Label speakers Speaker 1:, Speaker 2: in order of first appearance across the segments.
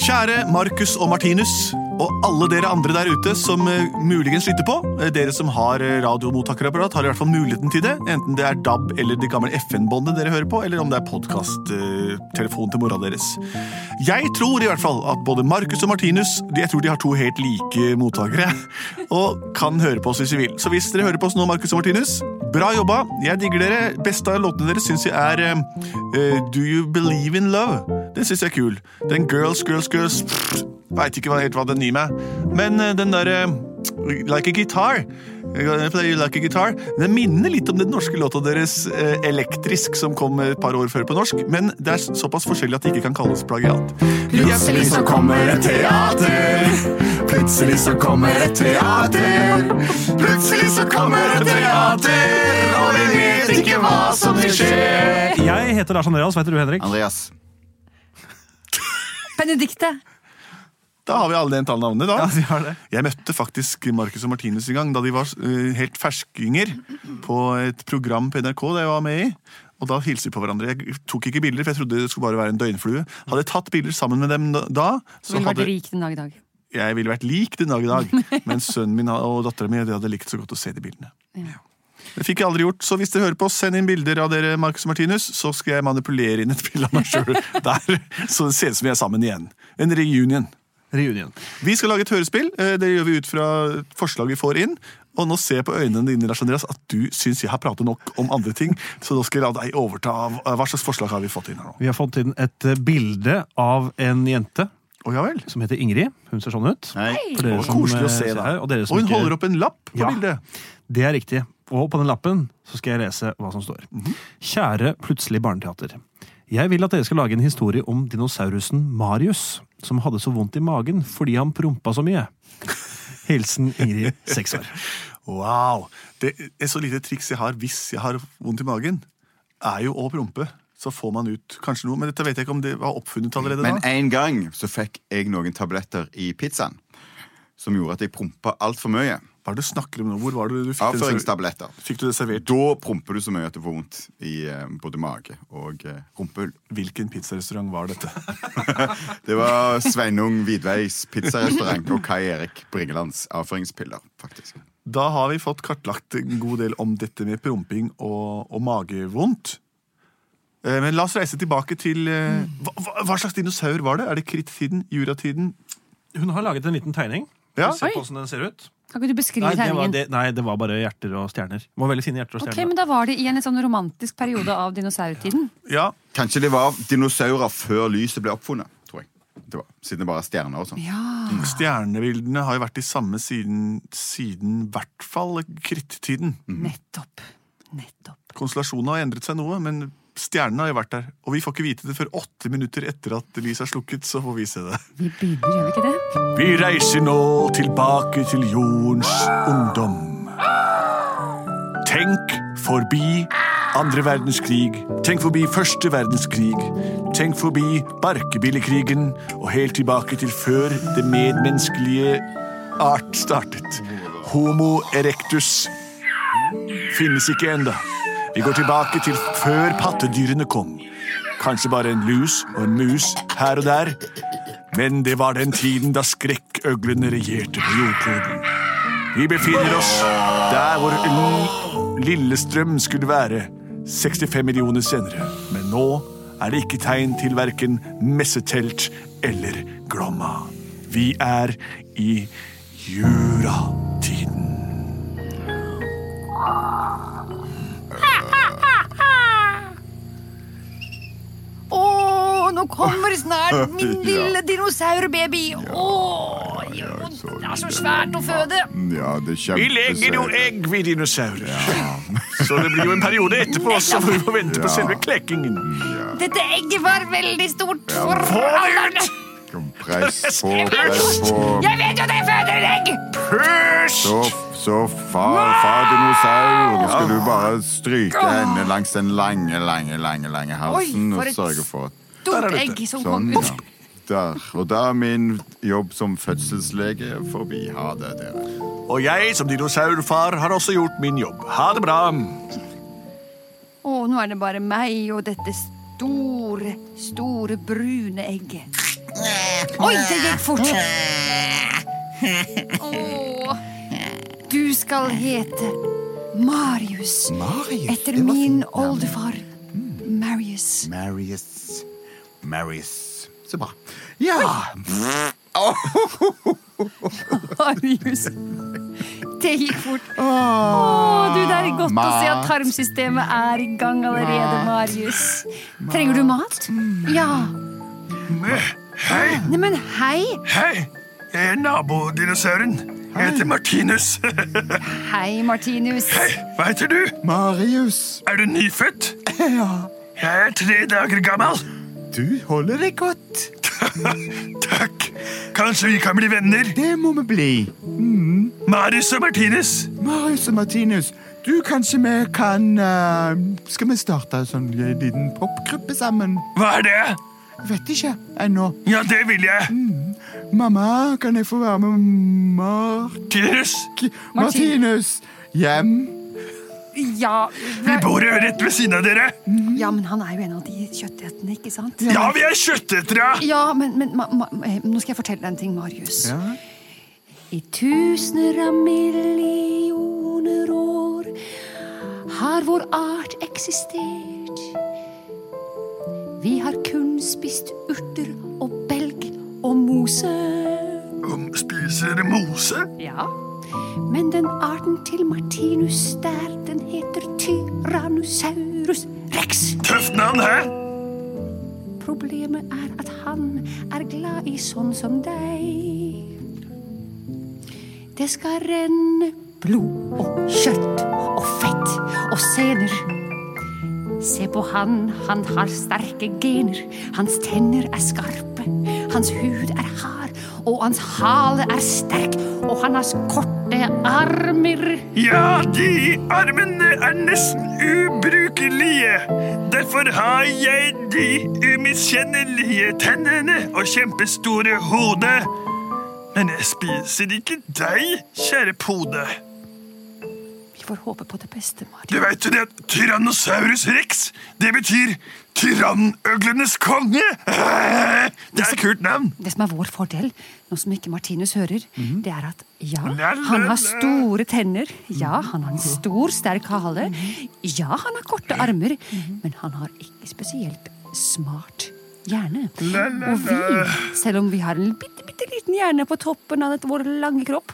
Speaker 1: Kjære Markus og Martinus, og alle dere andre der ute som eh, muligens lytter på. Eh, Dere som har eh, radiomottakerapparat, har i hvert fall muligheten til det. Enten det er DAB eller det gamle FN-båndet dere hører på, eller om det er podkasttelefonen til mora deres. Jeg tror i hvert fall at både Markus og Martinus de- jeg tror de har to helt like mottakere, og kan høre på oss hvis de vil. Så hvis dere hører på oss nå, Markus og Martinus, bra jobba. Jeg digger dere. Beste av låtene deres syns jeg er eh, eh, Do You Believe In Love. Den syns jeg er kul. Den Girls, Girls, Girls pff, Veit ikke hva- helt hva den gir meg. Men eh, den derre Like a guitar. eh, Play like a guitar. Den minner litt om den norske låta deres eh, Elektrisk, som kom et par år før på norsk, men det er såpass forskjellig at det ikke kan kalles plagiat. Men jeg-
Speaker 2: Plutselig så kommer et teater. Plutselig så kommer et teater. Plutselig så kommer et teater, og vi vet ikke hva som vil skje.
Speaker 3: Jeg heter Lars Andreas, hva heter du, Henrik?
Speaker 2: Andreas.
Speaker 4: Benedikte.
Speaker 1: Da har vi alle de entale navnene, da.
Speaker 3: Ja, vi har det.
Speaker 1: Jeg møtte faktisk Marcus og Martinus en gang da de var eh, helt ferskinger på et program på NRK det jeg var med i. Og da hilste vi på hverandre. Jeg tok ikke bilder, for jeg trodde det skulle bare være en døgnflue. Hadde jeg tatt bilder sammen med dem da- da,
Speaker 4: Du ville vært rik den dag i dag.
Speaker 1: jeg ville vært lik den dag i dag. Men sønnen min og dattera mi hadde likt så godt å se de bildene. Det fikk jeg aldri gjort, så hvis dere hører på, send inn bilder av dere, Marcus og Martinus, så skal jeg manipulere inn et bilde av meg sjøl der, så det ser ut som vi er sammen igjen. En reunion.
Speaker 3: Reunion.
Speaker 1: Vi skal lage et hørespill. Eh, Det gjør vi ut fra forslag vi får inn. Og nå ser jeg på øynene dine Lars Andreas, at du syns jeg har pratet nok om andre ting. Så nå skal jeg la deg overta. av- eh, Hva slags forslag har vi fått inn her nå?
Speaker 3: Vi har fått inn et eh, bilde av en jente
Speaker 1: Å ja vel.
Speaker 3: som heter Ingrid. Hun ser sånn ut.
Speaker 2: Nei.
Speaker 3: For dere
Speaker 1: Å,
Speaker 3: som,
Speaker 1: koselig
Speaker 3: eh,
Speaker 1: å se,
Speaker 3: ser
Speaker 1: da.
Speaker 3: her, Og, dere
Speaker 1: Og
Speaker 3: som
Speaker 1: hun
Speaker 3: ikke-
Speaker 1: holder opp en lapp på
Speaker 3: Ja.
Speaker 1: bildet.
Speaker 3: Det er riktig. Og på den lappen så skal jeg lese hva som står.
Speaker 1: Mhm.
Speaker 3: Kjære Plutselig barneteater. Jeg vil at dere skal lage en historie om dinosaurusen Marius, som hadde så vondt i magen fordi han prompa så mye. Hilsen Ingrid, seks år.
Speaker 1: Wow. Det er så lite triks jeg har hvis jeg har vondt i magen, er jo å prompe. Så får man ut kanskje noe. Men dette vet jeg ikke om det var oppfunnet allerede
Speaker 2: Men
Speaker 1: da.
Speaker 2: en gang så fikk jeg noen tabletter i pizzaen som gjorde at jeg prompa altfor mye.
Speaker 1: Hva er det du snakker om nå? Hvor var det du fikk, den servert?
Speaker 2: Avføringstabletter.
Speaker 1: fikk du det servert?
Speaker 2: Da promper du så mye at du får vondt i eh, både mage og eh, rumpehull.
Speaker 1: Hvilken pizzarestaurant var dette?
Speaker 2: Det var Sveinung Vidveis pizzarestaurant og Kai Erik Bringelands avføringspiller, faktisk.
Speaker 1: Da har vi fått kartlagt en god del om dette med promping og, og magevondt. Eh, Men la oss reise tilbake til eh, hva, hva- hva slags dinosaur var det? Er det krittiden? Juratiden?
Speaker 3: Hun har laget en liten tegning.
Speaker 1: Ja.
Speaker 3: Se på
Speaker 4: Oi.
Speaker 3: hvordan den ser ut.
Speaker 4: Kan ikke du beskrive
Speaker 3: Nei det, var,
Speaker 4: tegningen?
Speaker 3: det, nei, det var bare hjerter og stjerner. Det var veldig fine hjerter og
Speaker 4: Ok,
Speaker 3: stjerner.
Speaker 4: men Da var det i en litt sånn romantisk periode av dinosaurtiden.
Speaker 1: Ja.
Speaker 2: Kanskje det var dinosaurer før lyset ble oppfunnet, tror jeg. Det var, siden det bare er stjerner og sånn.
Speaker 1: Stjernebildene har jo vært de samme siden, siden i hvert fall krittiden.
Speaker 4: Nettopp. Nettopp.
Speaker 1: Konstellasjonene har endret seg noe, men stjernene har jo vært der. Og vi får ikke vite det før åtte minutter etter at lyset er slukket. så får vi se det.
Speaker 4: Vi begynner, gjør vi ikke det?
Speaker 1: Vi reiser nå tilbake til jordens ungdom. Tenk forbi andre verdenskrig. Tenk forbi første verdenskrig. Tenk forbi barkebillekrigen og helt tilbake til før det medmenneskelige art startet. Homo erectus finnes ikke enda. Vi går tilbake til før pattedyrene kom. Kanskje bare en lus og en mus her og der. Men det var den tiden da skrekkøglene regjerte på jordkloden. Vi befinner oss der hvor L- Lillestrøm skulle være 65 millioner senere. Men nå er det ikke tegn til verken messetelt eller Glomma. Vi er i juratiden.
Speaker 4: Å, nå kommer snart min
Speaker 2: Ja.
Speaker 4: lille dinosaurbaby! Å, jo, det er så svært å føde!
Speaker 2: Ja, det er
Speaker 1: Vi legger jo egg, vi dinosaurer. Så det blir jo en periode etterpå, så vi må vente på selve klekkingen.
Speaker 4: Dette egget var veldig stort for
Speaker 1: Få det
Speaker 4: alderen.
Speaker 1: ut!
Speaker 2: Press på,
Speaker 4: Jeg
Speaker 2: press på.
Speaker 4: Jeg vet jo at jeg føder et egg!
Speaker 1: Pust!
Speaker 2: Så, så far, far dinosaur, nå skal du bare stryke henne langs den lange, lange, lange lange halsen
Speaker 4: Oi, for
Speaker 2: og
Speaker 4: et
Speaker 2: sørge for at
Speaker 1: Der er
Speaker 4: Stort
Speaker 1: dette.
Speaker 4: egg som
Speaker 2: Sånn,
Speaker 4: kom
Speaker 2: ja.
Speaker 4: ut.
Speaker 2: Der. Og da er min jobb som fødselslege forbi. Ha det, dere.
Speaker 1: Og jeg som dinosaurfar har også gjort min jobb. Ha det bra.
Speaker 4: Å, nå er det bare meg og dette store, store brune egget. Oi, det gikk fort. Åh. Du skal hete Marius.
Speaker 2: Marius,
Speaker 4: Etter
Speaker 2: det var fint
Speaker 4: min
Speaker 2: navn.
Speaker 4: oldefar Marius.
Speaker 2: Marius. Marius. Så bra. Ja!
Speaker 4: Marius. Det gikk fort. Åh, du, det er godt å se at tarmsystemet er i gang allerede, Marius. Trenger du mat?
Speaker 2: Mm.
Speaker 4: Ja.
Speaker 1: Hei,
Speaker 4: Neimen, hei.
Speaker 1: hei! Jeg er nabodinosauren. Jeg Eh, heter Martinus.
Speaker 4: Hei, Martinus.
Speaker 1: Hva heter du?
Speaker 2: Marius.
Speaker 1: Er du nyfødt?
Speaker 2: Ja.
Speaker 1: Jeg er tre dager gammel.
Speaker 2: Du holder deg godt.
Speaker 1: Takk. Kanskje vi kan bli venner?
Speaker 2: Det må vi bli.
Speaker 1: Marius og Martinus.
Speaker 2: Marius og Martinus, du kanskje vi kan eh, Skal vi starte en sånn eh, liten popgruppe sammen?
Speaker 1: Hva er det?
Speaker 2: Vet ikke ennå.
Speaker 1: Ja, det vil jeg.
Speaker 2: Mamma, kan jeg få være med Mark
Speaker 1: Martinus,
Speaker 2: Martinus hjem?
Speaker 4: Ja,
Speaker 1: vi bor jo rett ved siden av dere.
Speaker 4: ja, men han er jo en av de kjøttetene, ikke sant?
Speaker 1: Ja, vi er kjøttetere.
Speaker 4: Ja, men, men ma, ma, eh, nå skal jeg fortelle deg en ting, Marius.
Speaker 2: Ja.
Speaker 4: I tusener av millioner år har vår art eksistert. Vi har kun spist urter og belg og mose.
Speaker 1: Um, Spiser dere mose?
Speaker 4: Ja. Men den arten til Martinus der, den heter Tyrannosaurus rex.
Speaker 1: Tøft navn, hæ?
Speaker 4: Problemet er at han er glad i sånn som deg. Det skal renne blod og kjøtt og fett og sener. Se på han, han har sterke gener. Hans tenner er skarpe, hans hud er hard, og hans hale er sterk, og han har korte armer.
Speaker 1: Ja, de armene er nesten ubrukelige. Derfor har jeg de umiskjennelige tennene og kjempestore hodet. Men jeg spiser ikke deg, kjære pode.
Speaker 4: Vi får håpe på det beste, Mari.
Speaker 1: Du vet jo det at Tyrannosaurus rex, det betyr tyrannøglenes konge. Det er et kult navn.
Speaker 4: Det som er vår fordel, nå som ikke Martinus hører, det er at ja,
Speaker 1: Mhm. la,
Speaker 4: han har
Speaker 1: la. Mhm.
Speaker 4: store tenner. Ja, han har en stor, sterk hale. Ja, han har korte armer.
Speaker 1: Mhm.
Speaker 4: Men han har ikke spesielt smart hjerne. Og vi, selv om vi har en bitte, bitte liten hjerne på toppen av dette vår lange kropp,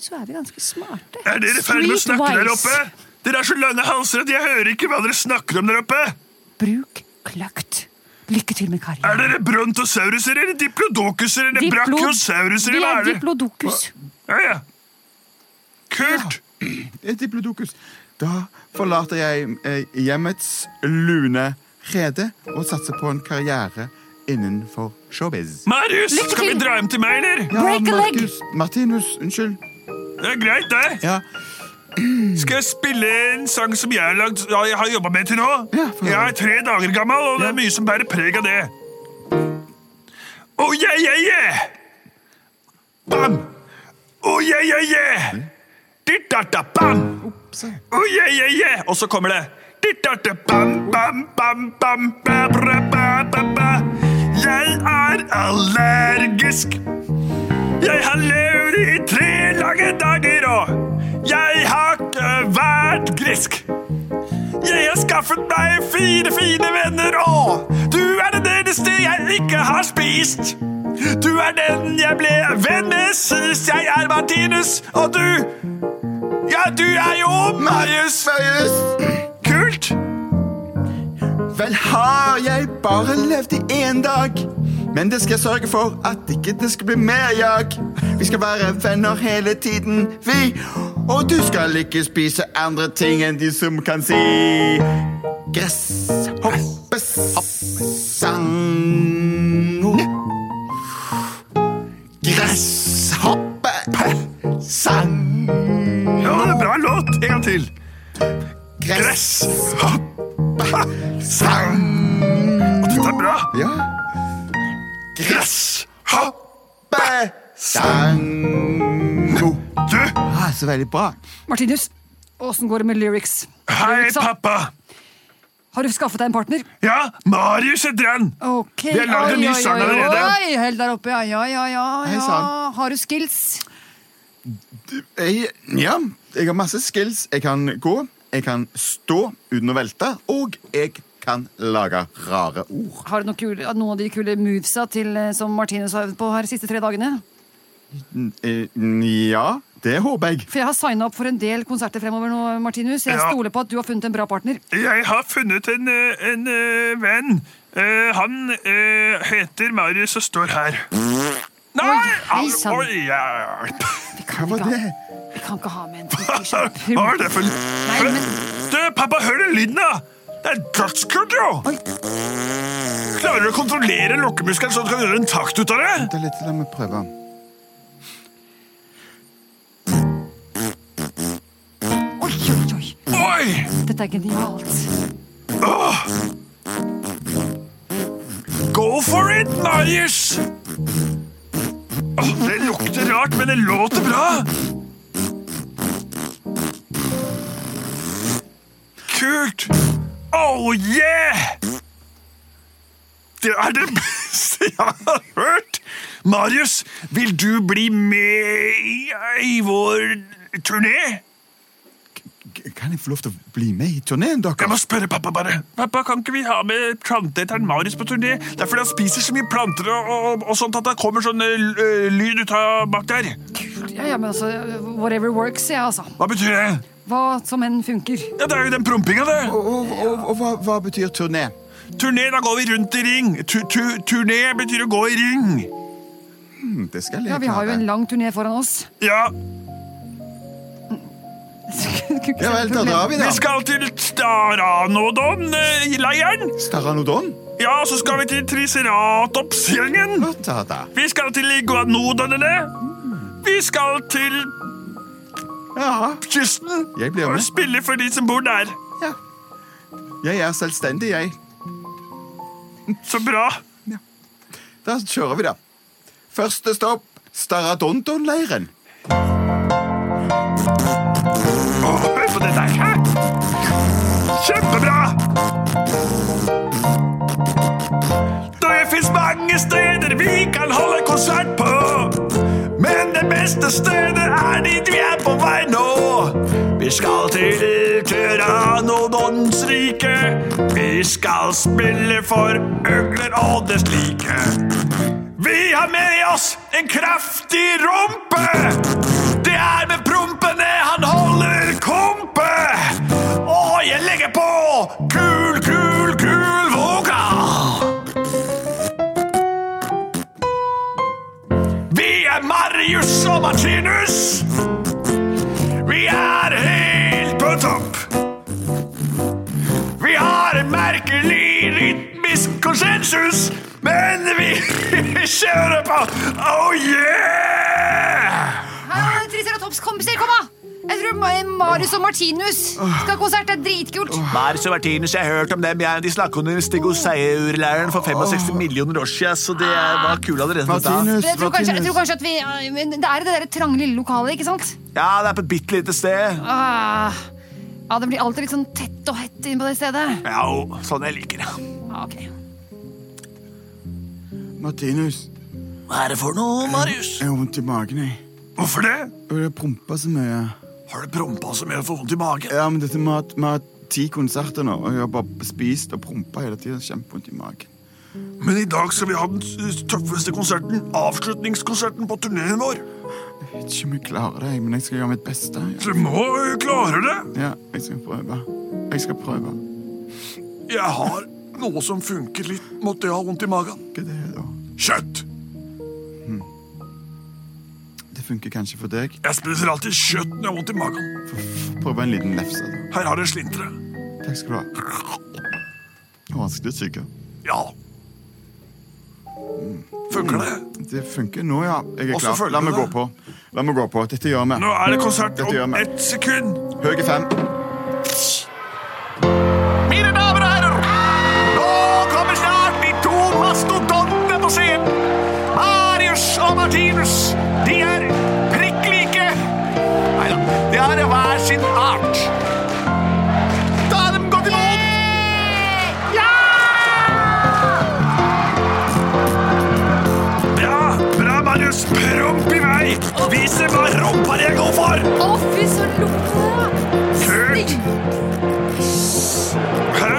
Speaker 4: så er vi ganske smarte.
Speaker 1: Er dere ferdig med å snakke der
Speaker 4: Streetwise.
Speaker 1: oppe? Dere har så lange halser at jeg hører ikke hva dere snakker om der oppe.
Speaker 4: Bruk kløkt. Lykke til med karrieren.
Speaker 1: Er dere brontosauruser eller diplodocusere eller
Speaker 4: Diplo-
Speaker 1: brachiosauruser
Speaker 4: Vi
Speaker 1: eller hva
Speaker 4: er
Speaker 1: er det?
Speaker 4: diplodokus.
Speaker 1: Ja, ja. Kult!
Speaker 2: Eh, Diplodocus. Da forlater jeg eh, hjemmets lune rede og satser på en karriere innenfor showbiz.
Speaker 1: Marius,
Speaker 4: Lykke
Speaker 1: skal vi
Speaker 4: til.
Speaker 1: dra hjem til meg, eller?
Speaker 2: Ja,
Speaker 4: Break a leg!
Speaker 2: Markus- Martinus, unnskyld.
Speaker 1: Det er greit, det.
Speaker 2: Ja,
Speaker 1: Skal jeg spille en sang som jeg har, lagd, ja, jeg har jobba med til nå?
Speaker 2: Ja, få høre.
Speaker 1: jeg er tre dager gammel, og det
Speaker 2: Ja.
Speaker 1: er mye som bærer preg av det. Oh yeah, yeah, yeah! Bam! Oh yeah, yeah, yeah! Ditt-datta, bam! Oh yeah, yeah, yeah! Og så kommer det Ditt-datta, bam, bam, bam, bam, ba, bra, ba, ba, ba. Jeg er allergisk. Jeg har levd i tre lange dager, og jeg har ikke vært grisk. Jeg har skaffet meg fire fine venner, og du er den eneste jeg ikke har spist. Du er den jeg ble venn med sist. Jeg er Martinus, og du Ja, du er jo Marius.
Speaker 2: Marius!
Speaker 1: Kult.
Speaker 2: Vel har jeg bare levd i én dag, men det skal jeg sørge for at ikke det skal bli mer jag. Vi skal være venner hele tiden, vi. Og du skal ikke spise andre ting enn de som kan si gress, hoppesang. Gresshoppesang.
Speaker 1: Ja, det er bra låt. En gang til.
Speaker 2: Gresshoppesang.
Speaker 1: Dette er bra.
Speaker 2: Ja.
Speaker 1: Gress. Hopp.
Speaker 2: Sango.
Speaker 1: Du,
Speaker 2: Ah, så veldig bra.
Speaker 4: Martinus, åssen går det med lyrics?
Speaker 1: hei,
Speaker 4: Lyrics, da?
Speaker 1: pappa.
Speaker 4: Har du skaffet deg en partner?
Speaker 1: Ja, Marius heter han!
Speaker 4: Ok.
Speaker 1: Vi har laget en ny sang allerede.
Speaker 4: Oi, helt der oppe, ja. Ja, ja, ja.
Speaker 2: Hei,
Speaker 4: ja.
Speaker 2: sann.
Speaker 4: Har du skills?
Speaker 2: Jeg, ja, jeg har masse skills. Jeg kan gå, jeg kan stå uten å velte, og jeg kan lage rare ord.
Speaker 4: Har du noen, kule, noen av de kule movesa til, eh, som Martinus har øvd på her de siste tre dagene?
Speaker 2: N- eh, Ja, det håper jeg.
Speaker 4: For jeg har signa opp for en del konserter fremover nå, Martinus. Jeg
Speaker 1: Ja.
Speaker 4: stoler på at du har funnet en bra partner.
Speaker 1: Jeg har funnet en, eh, en eh, venn. Eh, han eh, heter Marius og står her. Nei!
Speaker 4: hei
Speaker 1: au,
Speaker 4: sann.
Speaker 1: oi, ja.
Speaker 2: Hva var det?
Speaker 4: Vi kan ikke ha med en fyr som
Speaker 1: Hva er det for
Speaker 4: Nei, men
Speaker 1: Du, pappa, hør den lyden, da! Det er dødskult, jo! Klarer du å kontrollere lokkemuskelen så du kan gjøre en takt ut av det?
Speaker 2: Vent litt, la meg prøve.
Speaker 4: Oi, oi, oi.
Speaker 1: Oi!
Speaker 4: Dette er genialt.
Speaker 1: Go for it, Marius! Åh, det lukter rart, men det låter bra. Kult! Oh yeah! Det er det beste jeg har hørt! Marius, vil du bli med i- i vår turné?
Speaker 2: K- Kan jeg få lov til å bli med i turneen,
Speaker 1: Jeg må
Speaker 2: dere?
Speaker 1: spørre pappa bare. Pappa, Kan ikke vi ha med planteeteren Marius på turné? Det er fordi han spiser så mye planter og, og, og sånt at det kommer sånn eh, l- eh, lyd ut av bak der.
Speaker 4: Ja, ja, men altså, whatever works, ja, altså.
Speaker 1: Hva betyr det?
Speaker 4: Hva som enn funker.
Speaker 1: Ja, Det er jo den prompinga, det.
Speaker 2: Og, og, og, og hva, hva betyr turné?
Speaker 1: Turné, da går vi rundt i ring. Tu, tu, turné betyr å gå i ring.
Speaker 2: Hm, Det skal jeg
Speaker 4: Ja, Vi har jo
Speaker 2: klare.
Speaker 4: en lang turné foran oss.
Speaker 1: Ja,
Speaker 2: Ja vel, da drar vi,
Speaker 1: vi
Speaker 2: da.
Speaker 1: skal til Staranodon-leiren.
Speaker 2: Staranodon?
Speaker 1: Ja, så skal vi til Triceratops-gjengen.
Speaker 2: Ja, da, da.
Speaker 1: Vi skal til iguanodonene. Vi skal til
Speaker 2: Ja,
Speaker 1: kysten.
Speaker 2: Jeg blir
Speaker 1: Og
Speaker 2: med.
Speaker 1: spille for de som bor der.
Speaker 2: ja. Jeg er selvstendig, jeg.
Speaker 1: Så bra.
Speaker 2: Da kjører vi, da. Første stopp Staradondon-leiren.
Speaker 1: Åh, Hør på det der. Hæ? Kjempebra! Det fins mange steder vi kan holde konsert på. Men det beste stedet er dit vi er på vei nå. Vi skal til Tyranodons rike. Vi skal spille for øgler og det slike. Vi har med oss en kraftig rumpe. Det er med prompene han holder kompe. Og jeg legger på kul, kul, kul vokal. Vi er Marius og Martinus. Vi er helt på topp. Vi har en merkelig rytmisk konsensus, men vi kjører på. Oh yeah!
Speaker 4: Her er Triceratops, kompiser, kom da! Jeg tror Ma- Marius og Martinus skal ha konsert. Det er dritkult.
Speaker 5: Marius og Martinus, jeg har hørt om dem. Jeg, de snakker om den stegoseierleiren for 65 millioner år siden, så det er- var kul allerede da.
Speaker 2: Martinus,
Speaker 4: Jeg tror, kanskje, jeg
Speaker 2: Martinus.
Speaker 4: tror kanskje at vi øh, men Det er i det der trange lille lokalet, ikke sant?
Speaker 5: Ja, det er på et bitte lite sted.
Speaker 4: Ah, ja, Det blir alltid litt sånn tett og hett inne på det stedet.
Speaker 5: Ja, og sånn jeg liker det.
Speaker 4: Ah, ok.
Speaker 2: Martinus.
Speaker 5: Hva er det for noe, Marius?
Speaker 2: Jeg har vondt i magen, jeg.
Speaker 1: Hvorfor det?
Speaker 2: Og det prompa så mye.
Speaker 5: Har du prompa så mye og får vondt i magen?
Speaker 2: Ja, men dette med at vi har ti konserter nå, og jeg har bare spist og prompa hele tiden. Kjempevondt i magen.
Speaker 1: Men i dag skal vi ha den s- tøffeste konserten, avslutningskonserten på turneen vår.
Speaker 2: Jeg vet ikke om jeg klarer det, jeg, men jeg skal gjøre mitt beste.
Speaker 1: Du må jo klare det.
Speaker 2: Ja, jeg skal prøve. Jeg skal prøve.
Speaker 1: Jeg har noe som funker litt. Måtte jeg ha vondt i magen?
Speaker 2: Hva er det, da?
Speaker 1: Kjøtt!
Speaker 2: Det funker kanskje for deg.
Speaker 1: Jeg spiser alltid kjøtt når jeg har vondt i magen.
Speaker 2: Prøv en liten lefse, da.
Speaker 1: Her har jeg slintre.
Speaker 2: Takk skal du ha. Det var Vanskelig å tygge.
Speaker 1: Ja. Mm. Funker det?
Speaker 2: Mm, Det funker nå, ja. Jeg er
Speaker 1: Og så
Speaker 2: klar.
Speaker 1: følger
Speaker 2: La meg
Speaker 1: det.
Speaker 2: gå på. La meg gå på. Dette gjør vi.
Speaker 1: Nå er det konsert
Speaker 2: Dette gjør
Speaker 1: om
Speaker 2: vi.
Speaker 1: ett sekund.
Speaker 2: Høye fem.
Speaker 1: Mine damer og herrer, nå kommer snart de to mastodontene på scenen. Marius og Martinus. De er prikk like. Nei da, de har hver sin art. Da de går til mål
Speaker 6: Vise hva rumpa jeg går for!
Speaker 7: Å, fy, så lukter det!
Speaker 6: Kult! Hæ?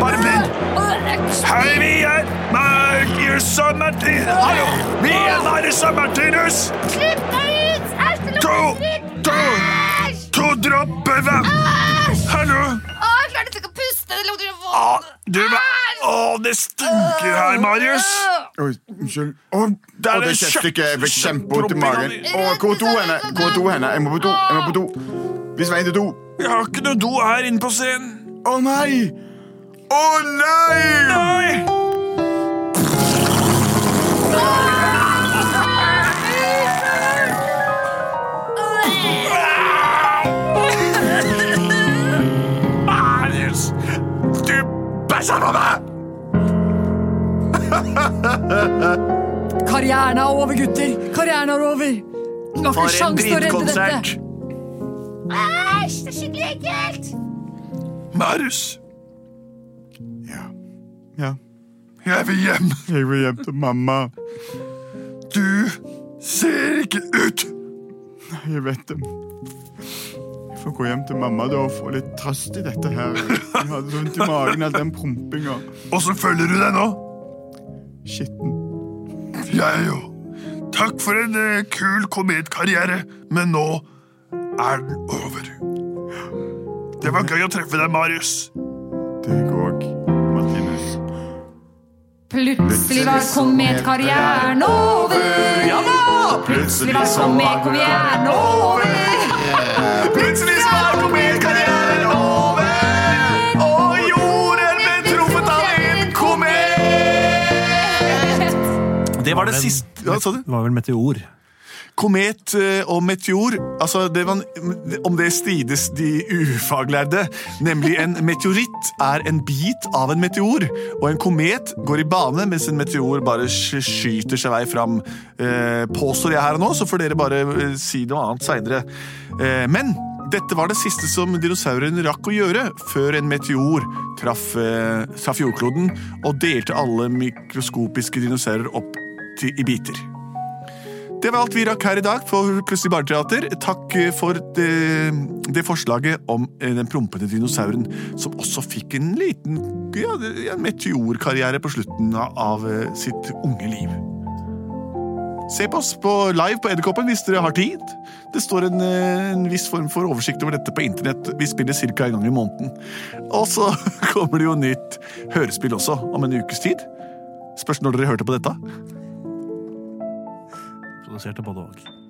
Speaker 6: Bare vent. Hei, vi er Marcus og Martin. Hallo! Vi er Marius og Martinus.
Speaker 7: Klipp deg ut! Æsj, det
Speaker 6: To,
Speaker 7: lukter dritt!
Speaker 6: to,
Speaker 7: Æsj!
Speaker 6: to dropper vann.
Speaker 7: Æsj!
Speaker 6: Hallo?
Speaker 7: Å, jeg klarte ikke å puste! Det lukter så
Speaker 6: Å,
Speaker 7: vondt!
Speaker 1: Ah.
Speaker 6: du, hva- Å, det stinker her, Marius.
Speaker 2: Oi, unnskyld. Å, det er
Speaker 6: en
Speaker 2: et kjøttstykke. Jeg fikk
Speaker 6: kjøtt-
Speaker 2: kjempevondt
Speaker 6: kjøttpropp
Speaker 2: i
Speaker 6: i
Speaker 2: magen.
Speaker 6: magen.
Speaker 2: Å, hvor er do henne? Hvor er do henne? Jeg må på do. Jeg må på do. Vis veien til do.
Speaker 6: Jeg har ikke noe do her inne på scenen.
Speaker 2: Å nei! Å nei!
Speaker 6: Nei! Marius, du bæsja på meg!
Speaker 4: Karrieren er over, gutter! Karrieren er over! Du har ikke sjans til å redde dette!
Speaker 7: Æsj, det er skikkelig ekkelt!
Speaker 6: Marius,
Speaker 2: Ja. ja.
Speaker 6: jeg vil hjem.
Speaker 2: Jeg vil hjem til mamma.
Speaker 6: Du ser ikke ut.
Speaker 2: Jeg vet det. Jeg får gå hjem til mamma da og få litt trøst i dette her. Jeg hadde så vondt i magen all den prompinga.
Speaker 6: Og så følger du deg nå.
Speaker 2: Skitten.
Speaker 6: Jeg jo. Takk for en eh, kul komedkarriere, men nå er den over. Det var gøy å treffe deg, Marius.
Speaker 2: Det går òg, Martinus.
Speaker 4: Plutselig var kometkarrieren over! Ja da! Plutselig var kometkarrieren over!
Speaker 6: Plutselig var komedkarrieren over, og jorden ble truffet av en komet.
Speaker 1: Det var det siste ja, sa du?
Speaker 3: Det var vel meteor.
Speaker 1: Komet eh, og meteor, altså det man, om det strides de ufaglærde. Nemlig en meteoritt er en bit av en meteor, og en komet går i bane mens en meteor bare sk- skyter seg vei fram. Eh, påstår jeg her og nå, så får dere bare eh, si noe annet seinere. Eh, men dette var det siste som dinosauren rakk å gjøre før en meteor traff, eh, traff jordkloden og delte alle mikroskopiske dinosaurer opp til, i biter. Det var alt vi rakk her i dag for Plutselig barneteater. Takk eh, for det, det forslaget om eh, den prompete dinosauren, som også fikk en liten ja, en meteorkarriere på slutten av eh, sitt unge liv. Se på oss på live på Edderkoppen hvis dere har tid. Det står en, eh, en viss form for oversikt over dette på internett. Vi spiller ca. en gang i måneden. Og så kommer det jo nytt hørespill også, om en ukes tid. Spørs når dere hørte på dette.
Speaker 3: Produserte både og.